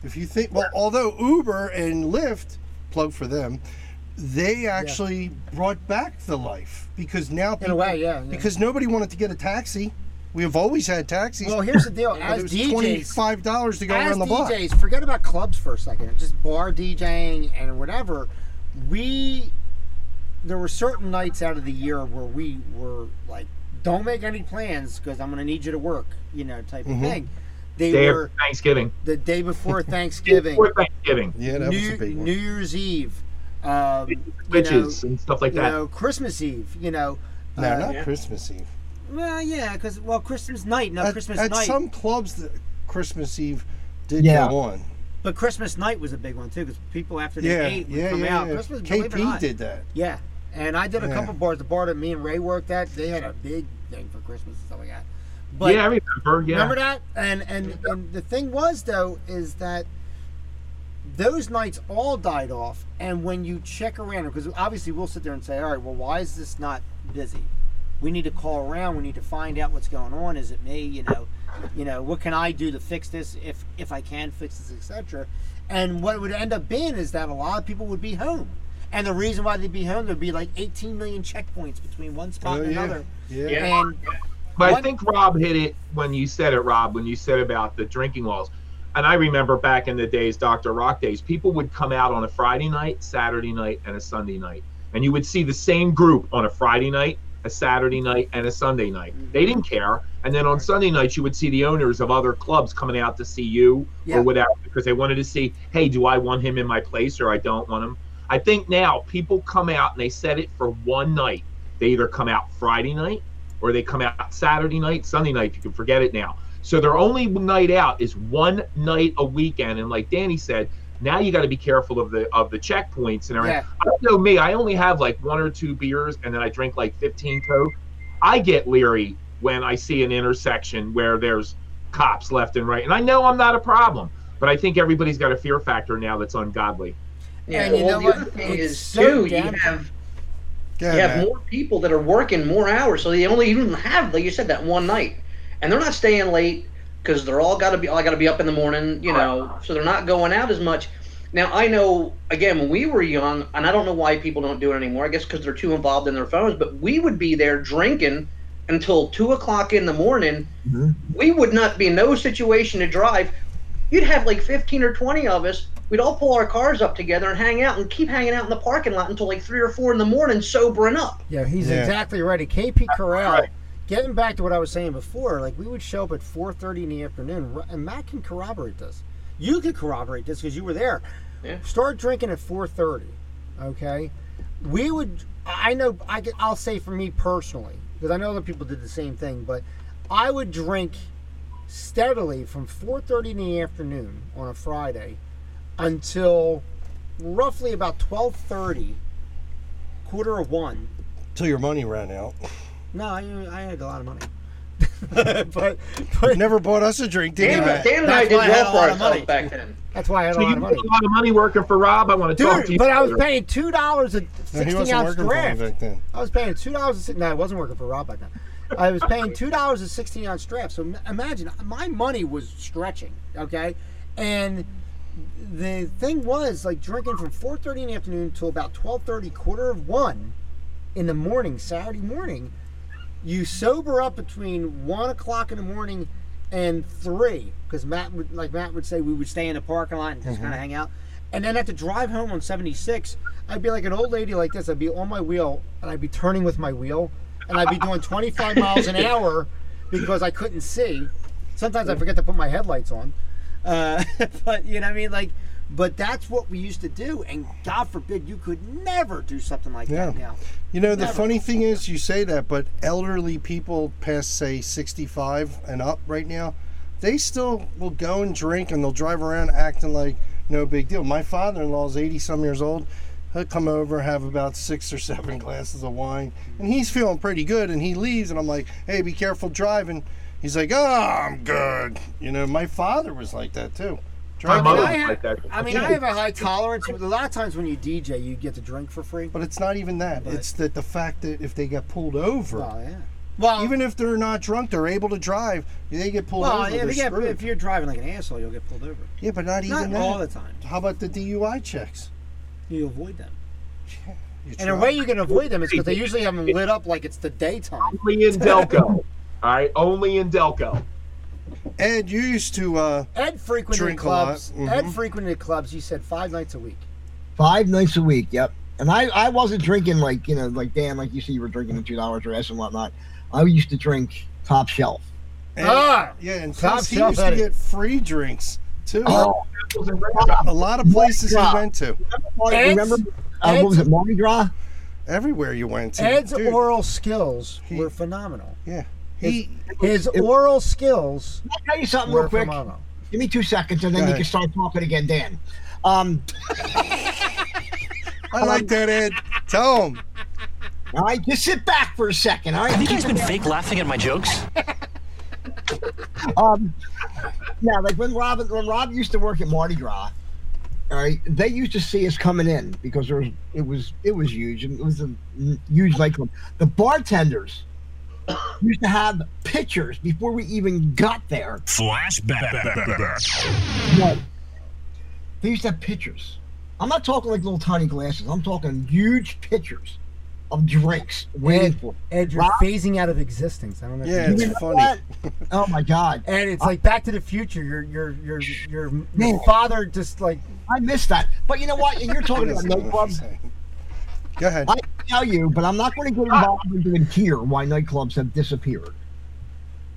Speaker 3: If you think, well, although Uber and Lyft, plug for them, they actually brought back the life because now
Speaker 2: in a
Speaker 3: people-
Speaker 2: way, yeah. yeah.
Speaker 3: because nobody wanted to get a taxi. We have always had taxis.
Speaker 2: well, here's the deal.
Speaker 3: <laughs> but
Speaker 2: As
Speaker 3: it was
Speaker 2: DJs,
Speaker 3: twenty-five dollars to go
Speaker 2: as
Speaker 3: around the block.
Speaker 2: DJs, forget about clubs for a second. Just bar DJing and whatever. We there were certain nights out of the year where we were like, "Don't make any plans because I'm going to need you to work," you know, type
Speaker 3: Mhm.
Speaker 2: of thing. They
Speaker 6: Day
Speaker 2: were
Speaker 6: after Thanksgiving.
Speaker 2: the day
Speaker 3: <laughs>
Speaker 2: before Thanksgiving,
Speaker 6: Before Thanksgiving.
Speaker 3: Yeah, that was a
Speaker 2: New,
Speaker 3: big one.
Speaker 2: New Year's Eve, um, you
Speaker 6: Switches and stuff like
Speaker 2: know, you
Speaker 6: that.
Speaker 2: know, Christmas Eve, you know.
Speaker 3: no,
Speaker 2: uh,
Speaker 3: not
Speaker 5: yeah.
Speaker 3: Christmas Eve.
Speaker 2: Well, yeah, because well, Christmas night, no
Speaker 3: at,
Speaker 2: Christmas
Speaker 3: at
Speaker 2: night,
Speaker 3: some clubs, the Christmas Eve did
Speaker 4: Yeah.
Speaker 3: go on.
Speaker 2: but Christmas night was a big one too because people after they
Speaker 3: Yeah,
Speaker 2: ate would
Speaker 3: yeah,
Speaker 2: come
Speaker 3: yeah.
Speaker 2: out.
Speaker 3: yeah.
Speaker 2: Christmas, believe it or
Speaker 3: KP
Speaker 2: not.
Speaker 3: did that.
Speaker 2: Yeah, and I did a
Speaker 3: Yeah.
Speaker 2: couple bars. The bar that me and Ray worked at, they had a big thing for Christmas and stuff like that. But
Speaker 6: yeah, I remember. Yeah.
Speaker 2: Remember that? And and and the thing was though is that those nights all died off, and when you check around, because obviously we'll sit there and say, all right, well, why is this not busy? We need to call around. We need to find out what's going on. Is it me? You know, you know, what can I do to fix this? If if I can fix this, etc. And what it would end up being is that a lot of people would be home, and the reason why they'd be home, there'd be like 18 million checkpoints between one spot
Speaker 3: Oh,
Speaker 2: and
Speaker 3: yeah.
Speaker 2: another,
Speaker 3: Yeah.
Speaker 5: Yeah.
Speaker 2: and
Speaker 6: But I
Speaker 2: What-
Speaker 6: think Rob hit it when you said it, Rob, when you said about the drinking laws. And I remember back in the days, Dr. Rock days, people would come out on a Friday night, Saturday night, and a Sunday night. And you would see the same group on a Friday night, a Saturday night, and a Sunday night. They didn't care. And then on Sunday nights, you would see the owners of other clubs coming out to see you
Speaker 2: Yeah.
Speaker 6: or whatever because they wanted to see, hey, do I want him in my place or I don't want him? I think now people come out and they set it for one night. They either come out Friday night or they come out Saturday night, Sunday night. You can forget it now. So their only night out is one night a weekend, and like Danny said, now you got to be careful of the of the checkpoints and everything.
Speaker 2: yeah,
Speaker 6: I don't know me. I only have like one or two beers, and then I drink like 15 coke. I get leery when I see an intersection where there's cops left and right, and I know I'm not a problem, but I think everybody's got a fear factor now that's ungodly.
Speaker 5: Yeah,
Speaker 2: And you
Speaker 5: well,
Speaker 2: know
Speaker 5: the other
Speaker 2: what?
Speaker 5: thing
Speaker 2: It's
Speaker 5: is
Speaker 2: so
Speaker 5: too. You
Speaker 2: damn-
Speaker 5: have
Speaker 3: Go
Speaker 5: you
Speaker 3: ahead,
Speaker 5: have
Speaker 3: Matt.
Speaker 5: more people that are working more hours, so they only even have, like you said, that one night, and they're not staying late because they're all got to be, all got to be up in the morning, you know. So they're not going out as much. Now I know, again, when we were young, and I don't know why people don't do it anymore. I guess because they're too involved in their phones. But we would be there drinking until two o'clock in the morning.
Speaker 4: Mhm.
Speaker 5: We would not be in no situation to drive. You'd have like fifteen or twenty of us. We'd all pull our cars up together and hang out and keep hanging out in the parking lot until like three or four in the morning, sobering up.
Speaker 2: Yeah, he's
Speaker 3: Yeah.
Speaker 2: exactly right. And KP Corral.
Speaker 6: right.
Speaker 2: Getting back to what I was saying before, like we would show up at 4:30 in the afternoon, r- and Matt can corroborate this. You can corroborate this because you were there.
Speaker 5: Yeah.
Speaker 2: Start drinking at 4:30. Okay, we would. I know. I could, I'll say for me personally, because I know other people did the same thing, but I would drink steadily from 4:30 in the afternoon on a Friday until roughly about 12:30, quarter of one.
Speaker 3: Till your money ran out.
Speaker 2: No, I, I had a lot of money. but, but
Speaker 3: Never bought us a drink, did you,
Speaker 5: Dan,
Speaker 3: Matt?
Speaker 5: Dan and I
Speaker 2: That's
Speaker 5: did
Speaker 2: why I had a
Speaker 5: well for
Speaker 2: lot of money.
Speaker 5: ourselves back then.
Speaker 2: that's why I had a
Speaker 6: So you
Speaker 2: lot of
Speaker 6: make
Speaker 2: money.
Speaker 6: a lot of money working for Rob. I want to talk to
Speaker 2: Dude,
Speaker 6: you.
Speaker 2: but I was
Speaker 6: later.
Speaker 2: paying two dollars a
Speaker 3: No, he
Speaker 2: sixteen
Speaker 3: wasn't
Speaker 2: ounce
Speaker 3: working for me
Speaker 2: draft.
Speaker 3: back then.
Speaker 2: I was paying two dollars. No, I wasn't working for Rob back then. I was paying two dollars a sixteen ounce draft. So im- imagine my money was stretching. Okay, and the thing was like drinking from four thirty in the afternoon till about twelve thirty, quarter of one, in the morning, Saturday morning. You sober up between one o'clock in the morning and three, because Matt would like Matt would say we would stay in the parking lot and just kind of hang out, and then have to drive home on seventy six. I'd be like an old lady like this. I'd be on my wheel and I'd be turning with my wheel, and I'd be doing twenty five miles an hour because I couldn't see. Sometimes I forget to put my headlights on, uh, <laughs> but you know what I mean. Like, but that's what we used to do, and God forbid you could never do something like that
Speaker 3: Yeah.
Speaker 2: now.
Speaker 3: You know, the
Speaker 2: Never.
Speaker 3: funny thing is, you say that, but elderly people past, say, 65 and up right now, they still will go and drink and they'll drive around acting like no big deal. My father in law is 80 some years old. He'll come over, have about six or seven glasses of wine, and he's feeling pretty good. And he leaves, and I'm like, hey, be careful driving. He's like, oh, I'm good. You know, my father was like that too.
Speaker 6: My
Speaker 3: Driving,
Speaker 6: mother
Speaker 2: I
Speaker 6: was
Speaker 2: have-
Speaker 6: like that.
Speaker 2: I mean, I have a high tolerance. but A lot of times when you DJ, you get to drink for free.
Speaker 3: But it's not even that.
Speaker 2: But-
Speaker 3: it's that the fact that if they get pulled over,
Speaker 2: Oh yeah. Well,
Speaker 3: Even if they're not drunk, they're able to drive. They get pulled
Speaker 2: well, yeah,
Speaker 3: over. they're
Speaker 2: if, you get,
Speaker 3: screwed.
Speaker 2: if you're driving like an asshole, you'll get pulled over.
Speaker 3: yeah, but not even
Speaker 2: Not
Speaker 3: that.
Speaker 2: all the time.
Speaker 3: How about the DUI checks?
Speaker 2: You avoid them.
Speaker 3: You
Speaker 2: And the
Speaker 3: try.
Speaker 2: way you can avoid them is because they usually have them lit up like it's the daytime.
Speaker 6: Only in Delco. All right, only in Delco.
Speaker 3: Ed you used to. Uh,
Speaker 2: Ed frequented
Speaker 3: Drink a
Speaker 2: clubs.
Speaker 3: lot,
Speaker 2: Ed
Speaker 3: mhm.
Speaker 2: frequented clubs. You said five nights a week.
Speaker 4: Five nights a week, yep. And I, I wasn't drinking like, you know, like Dan, like you see, you were drinking the $2 or S and whatnot. I used to drink top shelf.
Speaker 3: Ed-
Speaker 2: ah,
Speaker 3: yeah, and
Speaker 2: Top
Speaker 3: plus he
Speaker 2: shelf
Speaker 3: used to
Speaker 2: Eddie.
Speaker 3: get free drinks too.
Speaker 4: Oh,
Speaker 6: Apples and red top.
Speaker 3: A lot of places he
Speaker 4: God.
Speaker 3: went to,
Speaker 2: Ed's-
Speaker 4: remember? Uh, what was it, Mardi Gras?
Speaker 3: everywhere you went to.
Speaker 2: Ed's
Speaker 3: Dude,
Speaker 2: oral skills
Speaker 3: He-
Speaker 2: were phenomenal.
Speaker 3: he,
Speaker 2: His
Speaker 4: it-
Speaker 2: oral skills
Speaker 4: Can I tell you something
Speaker 2: were
Speaker 4: real quick?
Speaker 2: phenomenal.
Speaker 4: Give me two seconds and then
Speaker 3: Go
Speaker 4: you
Speaker 3: ahead.
Speaker 4: can start talking again, Dan. Um,
Speaker 3: I like that, Ed. Tell him.
Speaker 4: all right, just sit back for a second, all right?
Speaker 7: Have you guys been fake laughing at my jokes?
Speaker 4: <laughs> um, yeah, like when Rob when Rob used to work at Mardi Gras, all right, they used to see us coming in because there was it was it was huge and it was a huge nightclub. The bartenders used to have pictures before we even got there.
Speaker 8: Flashback.
Speaker 4: Right. They used to have pictures. I'm not talking like little tiny glasses. I'm talking huge pictures of drinks waiting
Speaker 2: Ed,
Speaker 4: for.
Speaker 2: Ed, you're
Speaker 4: Rob-
Speaker 2: phasing out of existence. I don't know. if
Speaker 3: Yeah,
Speaker 2: you-
Speaker 3: it's
Speaker 4: You know
Speaker 3: funny.
Speaker 4: what? Oh my god.
Speaker 2: And it's like Back to the Future. Your your your your, your
Speaker 4: Man.
Speaker 2: father just like
Speaker 4: I missed that. But you know what? And you're talking about
Speaker 3: Listen to <laughs> what
Speaker 4: nightclubs.
Speaker 3: you're saying. Go ahead.
Speaker 4: I can tell you, but I'm not going to get involved into it here why nightclubs have disappeared.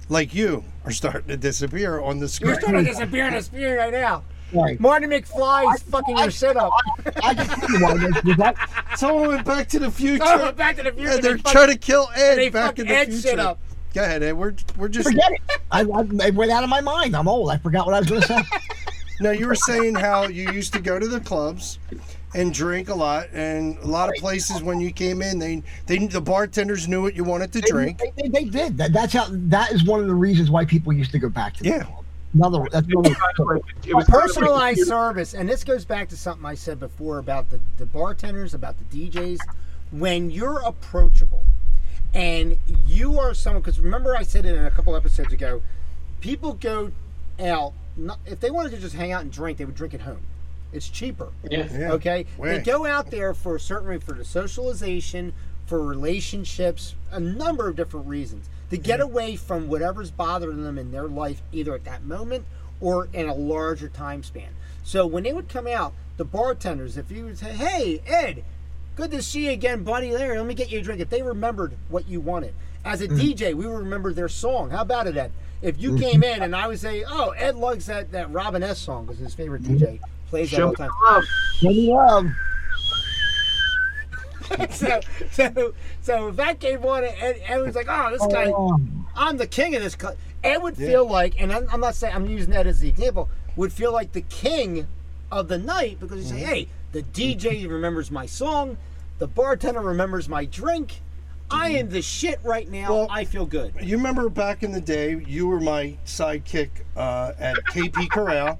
Speaker 3: Like you are starting to disappear on the screen.
Speaker 2: to <laughs> disappear in a spear right now. <laughs>
Speaker 4: Right.
Speaker 2: Marty McFly's fucking your setup. <laughs>
Speaker 4: I can tell you why nightclubs. that-
Speaker 3: Someone went back to the future.
Speaker 2: Oh, <laughs> Back to the Future.
Speaker 3: yeah, they're
Speaker 2: fucking-
Speaker 3: trying to kill Ed
Speaker 2: they
Speaker 3: back in
Speaker 2: fucked
Speaker 3: the
Speaker 2: Ed
Speaker 3: future.
Speaker 2: shit up.
Speaker 3: Go ahead, Ed. We're we're just
Speaker 4: Forget it. I, I it went out of my mind. I'm old. I forgot what I was going to say.
Speaker 3: Now you were saying how you used to go to the clubs and drink a lot, and a lot of places when you came in, they they the bartenders knew what you wanted to drink.
Speaker 4: They, they, they did. That, that's how. That is one of the reasons why people used to go back to. the
Speaker 3: Yeah.
Speaker 4: club. Another. That's another.
Speaker 6: It was
Speaker 2: <laughs> personalized service and this goes back to something i said before about the, the bartenders about the djs when you're approachable and you are someone because remember i said it in a couple episodes ago people go out not, if they wanted to just hang out and drink they would drink at home it's cheaper
Speaker 5: Yeah.
Speaker 3: Yeah.
Speaker 2: okay
Speaker 3: Way.
Speaker 2: they go out there for a certain reason for the socialization for relationships a number of different reasons to get away from whatever's bothering them in their life either at that moment or in a larger time span so when they would come out the bartenders if you would say hey ed good to see you again buddy larry let me get you a drink if they remembered what you wanted as a dj we would remember their song how about it ed if you came in and i would say oh ed loves that, that robin s song because his favorite dj plays that all
Speaker 6: Show
Speaker 2: the time
Speaker 6: up.
Speaker 4: Any love.
Speaker 2: <laughs> so, so, so if that came on, and Ed, Ed was like, "Oh, this guy,
Speaker 4: um,
Speaker 2: I'm the king of this." Cl-. Ed would feel like, and I'm, I'm not saying I'm using that as the example, would feel like the king of the night because you say, "Hey, the DJ remembers my song, the bartender remembers my drink, I am the shit right now.
Speaker 3: Well-
Speaker 2: I feel good."
Speaker 3: You remember back in the day, you were my sidekick uh, at KP Corral.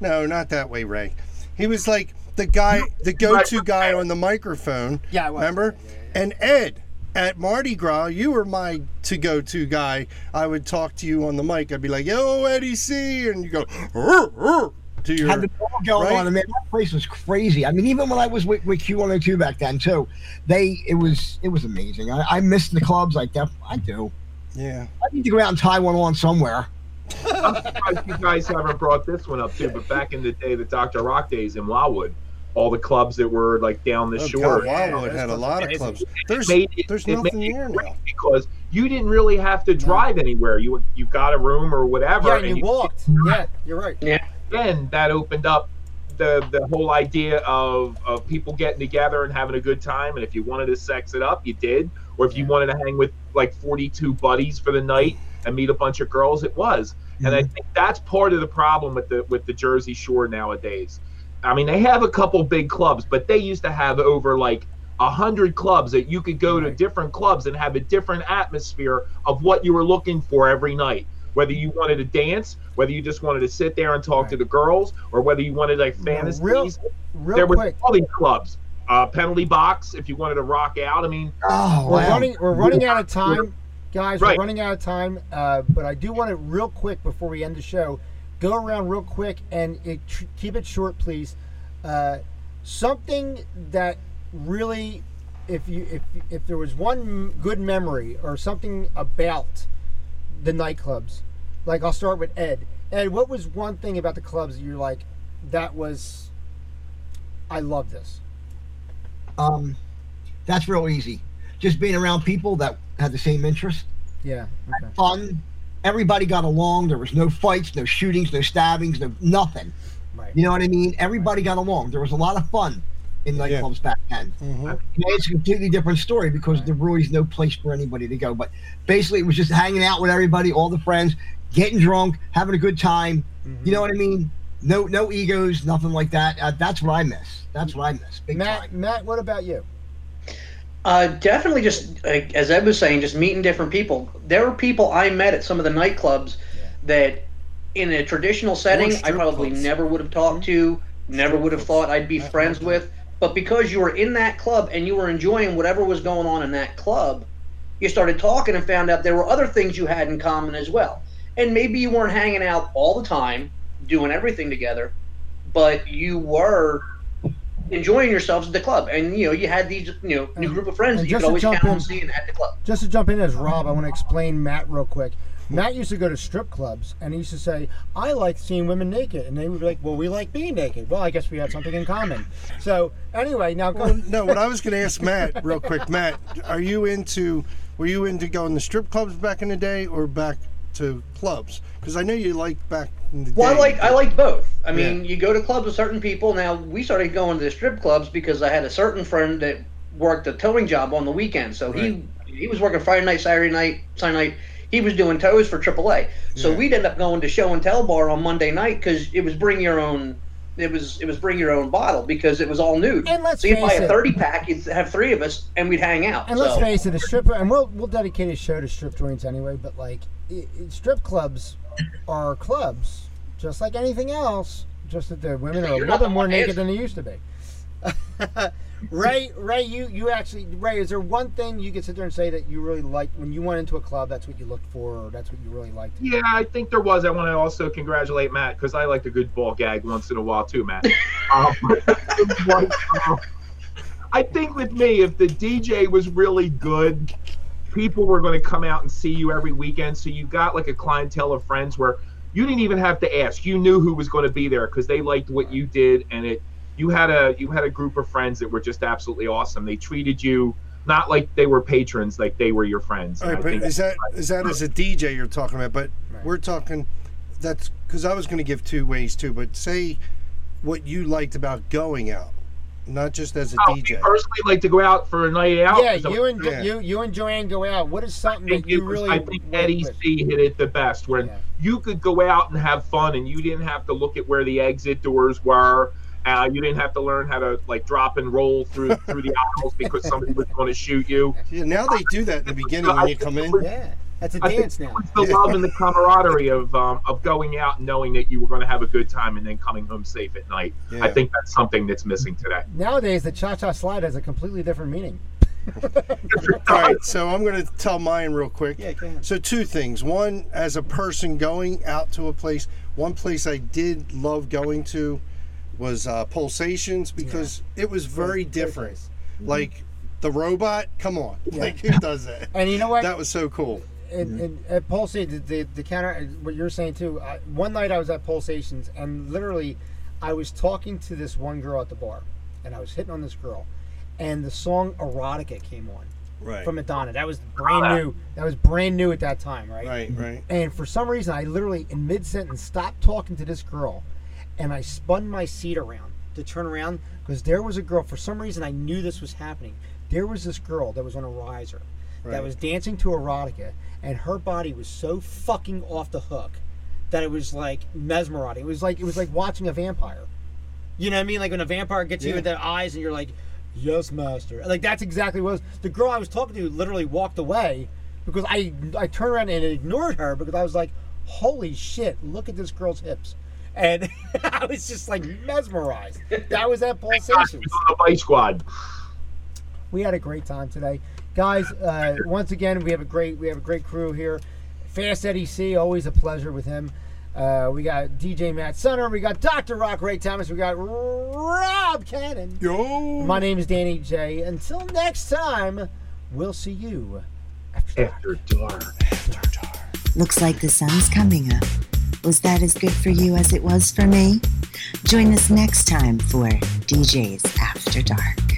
Speaker 3: No, not that way, Ray. He was like the guy, the go-to guy on the microphone.
Speaker 2: Yeah, I was.
Speaker 3: Remember? And Ed at Mardi Gras, you were my to go-to guy. I would talk to you on the mic. I'd be like, "Yo, Eddie C," and you go "Rrr, rrr," to your.
Speaker 4: had the ball going
Speaker 3: Right?
Speaker 4: on, and man, that place was crazy. I mean, even when I was with, with Q102 back then too, they it was it was amazing. I, I miss the clubs. I def, I do.
Speaker 3: yeah.
Speaker 4: I need to go out and tie one on somewhere.
Speaker 6: surprised you guys haven't brought this one up too, but back in the day, the Dr. Rock days in Wildwood, all the clubs that were like down the
Speaker 3: Oh,
Speaker 6: shore.
Speaker 3: God, Wildwood had a lot of
Speaker 2: amazing.
Speaker 3: clubs. There's
Speaker 6: made it-
Speaker 3: there's
Speaker 6: it
Speaker 3: nothing
Speaker 6: made it
Speaker 3: there
Speaker 6: great
Speaker 3: now.
Speaker 6: because you didn't really have to drive anywhere. You you got a room or whatever,
Speaker 2: Yeah, and you
Speaker 6: you-
Speaker 2: walked. Yeah, you're right.
Speaker 6: then that opened up the the whole idea of of people getting together and having a good time. And if you wanted to sex it up, you did. Or if you wanted to hang with like 42 buddies for the night and meet a bunch of girls, it was. And
Speaker 2: Mm-hmm.
Speaker 6: I think that's part of the problem with the with the Jersey Shore nowadays. I mean, they have a couple big clubs, but they used to have over like a hundred clubs that you could go to different clubs and have a different atmosphere of what you were looking for every night. Whether you wanted to dance, whether you just wanted to sit there and talk to the girls, or whether you wanted like fantasies,
Speaker 2: real-
Speaker 6: there
Speaker 2: Real
Speaker 6: were
Speaker 2: quick,
Speaker 6: all these clubs. Uh, penalty box if you wanted to rock out. I mean,
Speaker 4: Oh,
Speaker 2: we're
Speaker 4: wow.
Speaker 2: running. We're running out of time. Guys,
Speaker 6: Right.
Speaker 2: we're running out of time, uh, but I do want to real quick before we end the show go around real quick and it, tr- keep it short, please. Uh, something that really, if you if if there was one m- good memory or something about the nightclubs, like I'll start with Ed. Ed, what was one thing about the clubs that you're like, that was, I love this.
Speaker 4: Um, that's real easy. Just being around people that had the same interest,
Speaker 2: Yeah. Okay.
Speaker 4: fun. Everybody got along. There was no fights, no shootings, no stabbings, no nothing.
Speaker 2: Right.
Speaker 4: You know what I mean? Everybody got along. There was a lot of fun in
Speaker 3: Yeah.
Speaker 4: nightclubs back then.
Speaker 3: hmm
Speaker 4: Now it's a completely different story because there really is no place for anybody to go. But basically, it was just hanging out with everybody, all the friends, getting drunk, having a good time.
Speaker 2: Mm-hmm.
Speaker 4: You know what I mean? No, no egos, nothing like that. Uh, that's what I miss. That's what I miss. Big
Speaker 2: Matt,
Speaker 4: time.
Speaker 2: Matt, what about you?
Speaker 5: Uh, definitely, just like, as Ed was saying, just meeting different people. There were people I met at some of the nightclubs that, in a traditional setting, I
Speaker 3: strip
Speaker 5: probably
Speaker 3: clubs. Hmm?
Speaker 5: never would have talked to, never would have thought I'd be
Speaker 3: I've
Speaker 5: friends
Speaker 3: heard that.
Speaker 5: with. But because you were in that club and you were enjoying whatever was going on in that club, you started talking and found out there were other things you had in common as well. And maybe you weren't hanging out all the time, doing everything together, but you were enjoying yourselves at the club. And you know, you had these you know new group of friends
Speaker 2: And
Speaker 5: that you
Speaker 2: just to
Speaker 5: could always
Speaker 2: jump
Speaker 5: count on
Speaker 2: in-
Speaker 5: seeing at the club.
Speaker 2: just to jump in as Rob, I want to explain Matt real quick. Matt used to go to strip clubs and he used to say, I like seeing women naked. And they would be like, Well, we like being naked. Well, I guess we have something in common. So, anyway, now go.
Speaker 3: Well, Um, no, what I was going to ask Matt real quick, Matt, are you into? Were you into going to strip clubs back in the day, or back to clubs? Because I know you liked back in the
Speaker 5: Well,
Speaker 3: day.
Speaker 5: I like I like both. I
Speaker 3: Yeah.
Speaker 5: mean, you go to clubs with certain people. Now we started going to the strip clubs because I had a certain friend that worked a towing job on the weekend. So he he was working Friday night, Saturday night, Sunday night. He was doing tows for AAA. So
Speaker 3: Yeah.
Speaker 5: we'd end up going to show and tell bar on Monday night because it was bring your own. It was it was bring your own bottle because it was all nude.
Speaker 2: And let's
Speaker 5: so you'd buy
Speaker 2: face
Speaker 5: a
Speaker 2: it-
Speaker 5: thirty pack. You'd have three of us, and we'd hang out.
Speaker 2: And let's
Speaker 5: so.
Speaker 2: face it, a stripper, and we'll we'll dedicate a show to strip joints anyway. But like, i i strip clubs are clubs, just like anything else. Just that the women are a
Speaker 5: You're
Speaker 2: little
Speaker 5: not the
Speaker 2: bit more
Speaker 5: one
Speaker 2: naked
Speaker 5: answering.
Speaker 2: than they used to be. <laughs> Ray, Ray, you you actually, Ray, is there one thing you could sit there and say that you really liked when you went into a club? That's what you looked for, or that's what you really liked.
Speaker 6: Yeah, I think there was. I want to also congratulate Matt because I like a good ball gag once in a while too, <laughs> Matt. um, but, uh, I think with me, if the DJ was really good, people were going to come out and see you every weekend. So you got like a clientele of friends where you didn't even have to ask. You knew who was going to be there because they liked what you did, and it you had a you had a group of friends that were just absolutely awesome. They treated you not like they were patrons, like they were your friends.
Speaker 3: All
Speaker 6: And
Speaker 3: right,
Speaker 6: I
Speaker 3: but
Speaker 6: think
Speaker 3: is that is that as a DJ you're talking about? But we're talking that's because I was going to give two ways too. But say what you liked about going out, not just as a
Speaker 6: Oh, me
Speaker 3: DJ.
Speaker 6: personally like to go out for a night out.
Speaker 2: Yeah,
Speaker 6: Oh, So
Speaker 2: you and
Speaker 3: yeah.
Speaker 2: you you and Joanne go out. What is
Speaker 6: I
Speaker 2: something
Speaker 6: think,
Speaker 2: that you
Speaker 6: it was-
Speaker 2: really?
Speaker 6: I think
Speaker 2: went
Speaker 6: Eddie
Speaker 2: with?
Speaker 6: C hit it the best when
Speaker 2: Yeah.
Speaker 6: you could go out and have fun and you didn't have to look at where the exit doors were. Uh, you didn't have to learn how to like drop and roll
Speaker 2: <laughs>
Speaker 6: through through the aisles because somebody was going to shoot you.
Speaker 3: Yeah, now they do that in the beginning when you come in.
Speaker 2: Yeah, that's a
Speaker 6: I think
Speaker 2: dance now.
Speaker 6: It's the love and the camaraderie of um, of going out and knowing that you were going to have a good time and then coming home safe at night.
Speaker 3: Yeah.
Speaker 6: I think that's something that's missing today.
Speaker 2: Nowadays, the cha-cha slide has a completely different meaning.
Speaker 3: All right, so I'm going to tell mine real quick.
Speaker 2: Yeah, go ahead.
Speaker 3: So two things. One, as a person going out to a place, one place I did love going to was uh, Pulsations because it was very different. Mm-hmm. Like the robot, come on, like who does that? <laughs>
Speaker 2: And you know what?
Speaker 3: That was so cool.
Speaker 2: and, and at Pulsate, the, the, the counter, what you're saying too, I, one night I was at Pulsations and literally I was talking to this one girl at the bar and I was hitting on this girl and the song Erotica came on
Speaker 3: Right.
Speaker 2: from Madonna. That was brand new. That was brand new at that time, right?
Speaker 3: Right, right.
Speaker 2: And for some reason, I literally, in mid sentence, stopped talking to this girl and I spun my seat around to turn around because there was a girl. For some reason, I knew this was happening. There was this girl that was on a riser that
Speaker 3: Right.
Speaker 2: was dancing to erotica, and her body was so fucking off the hook that it was like mesmerizing. It was like it was like watching a vampire. You know what I mean? Like when a vampire gets you
Speaker 3: Yeah.
Speaker 2: in the eyes, and you're like, "Yes, master." Like that's exactly what it was. The girl I was talking to literally walked away because I I turned around and ignored her because I was like, "Holy shit! Look at this girl's hips." And <laughs> I was just like mesmerized. That was at
Speaker 6: Gosh,
Speaker 2: pulsations.
Speaker 6: we on the bike squad.
Speaker 2: We had a great time today. guys. Uh, once again, we have a great we have a great crew here. Fast Eddie C, always a pleasure with him. Uh, we got DJ Matt Sunner. We got Doctor Rock Ray Thomas. We got Rob Cannon.
Speaker 3: Yo.
Speaker 2: My name is Danny J. Until next time, we'll see you after.
Speaker 6: After dark.
Speaker 1: Looks like the sun's coming up. Was that as good for you as it was for me? Join us next time for DJs After Dark.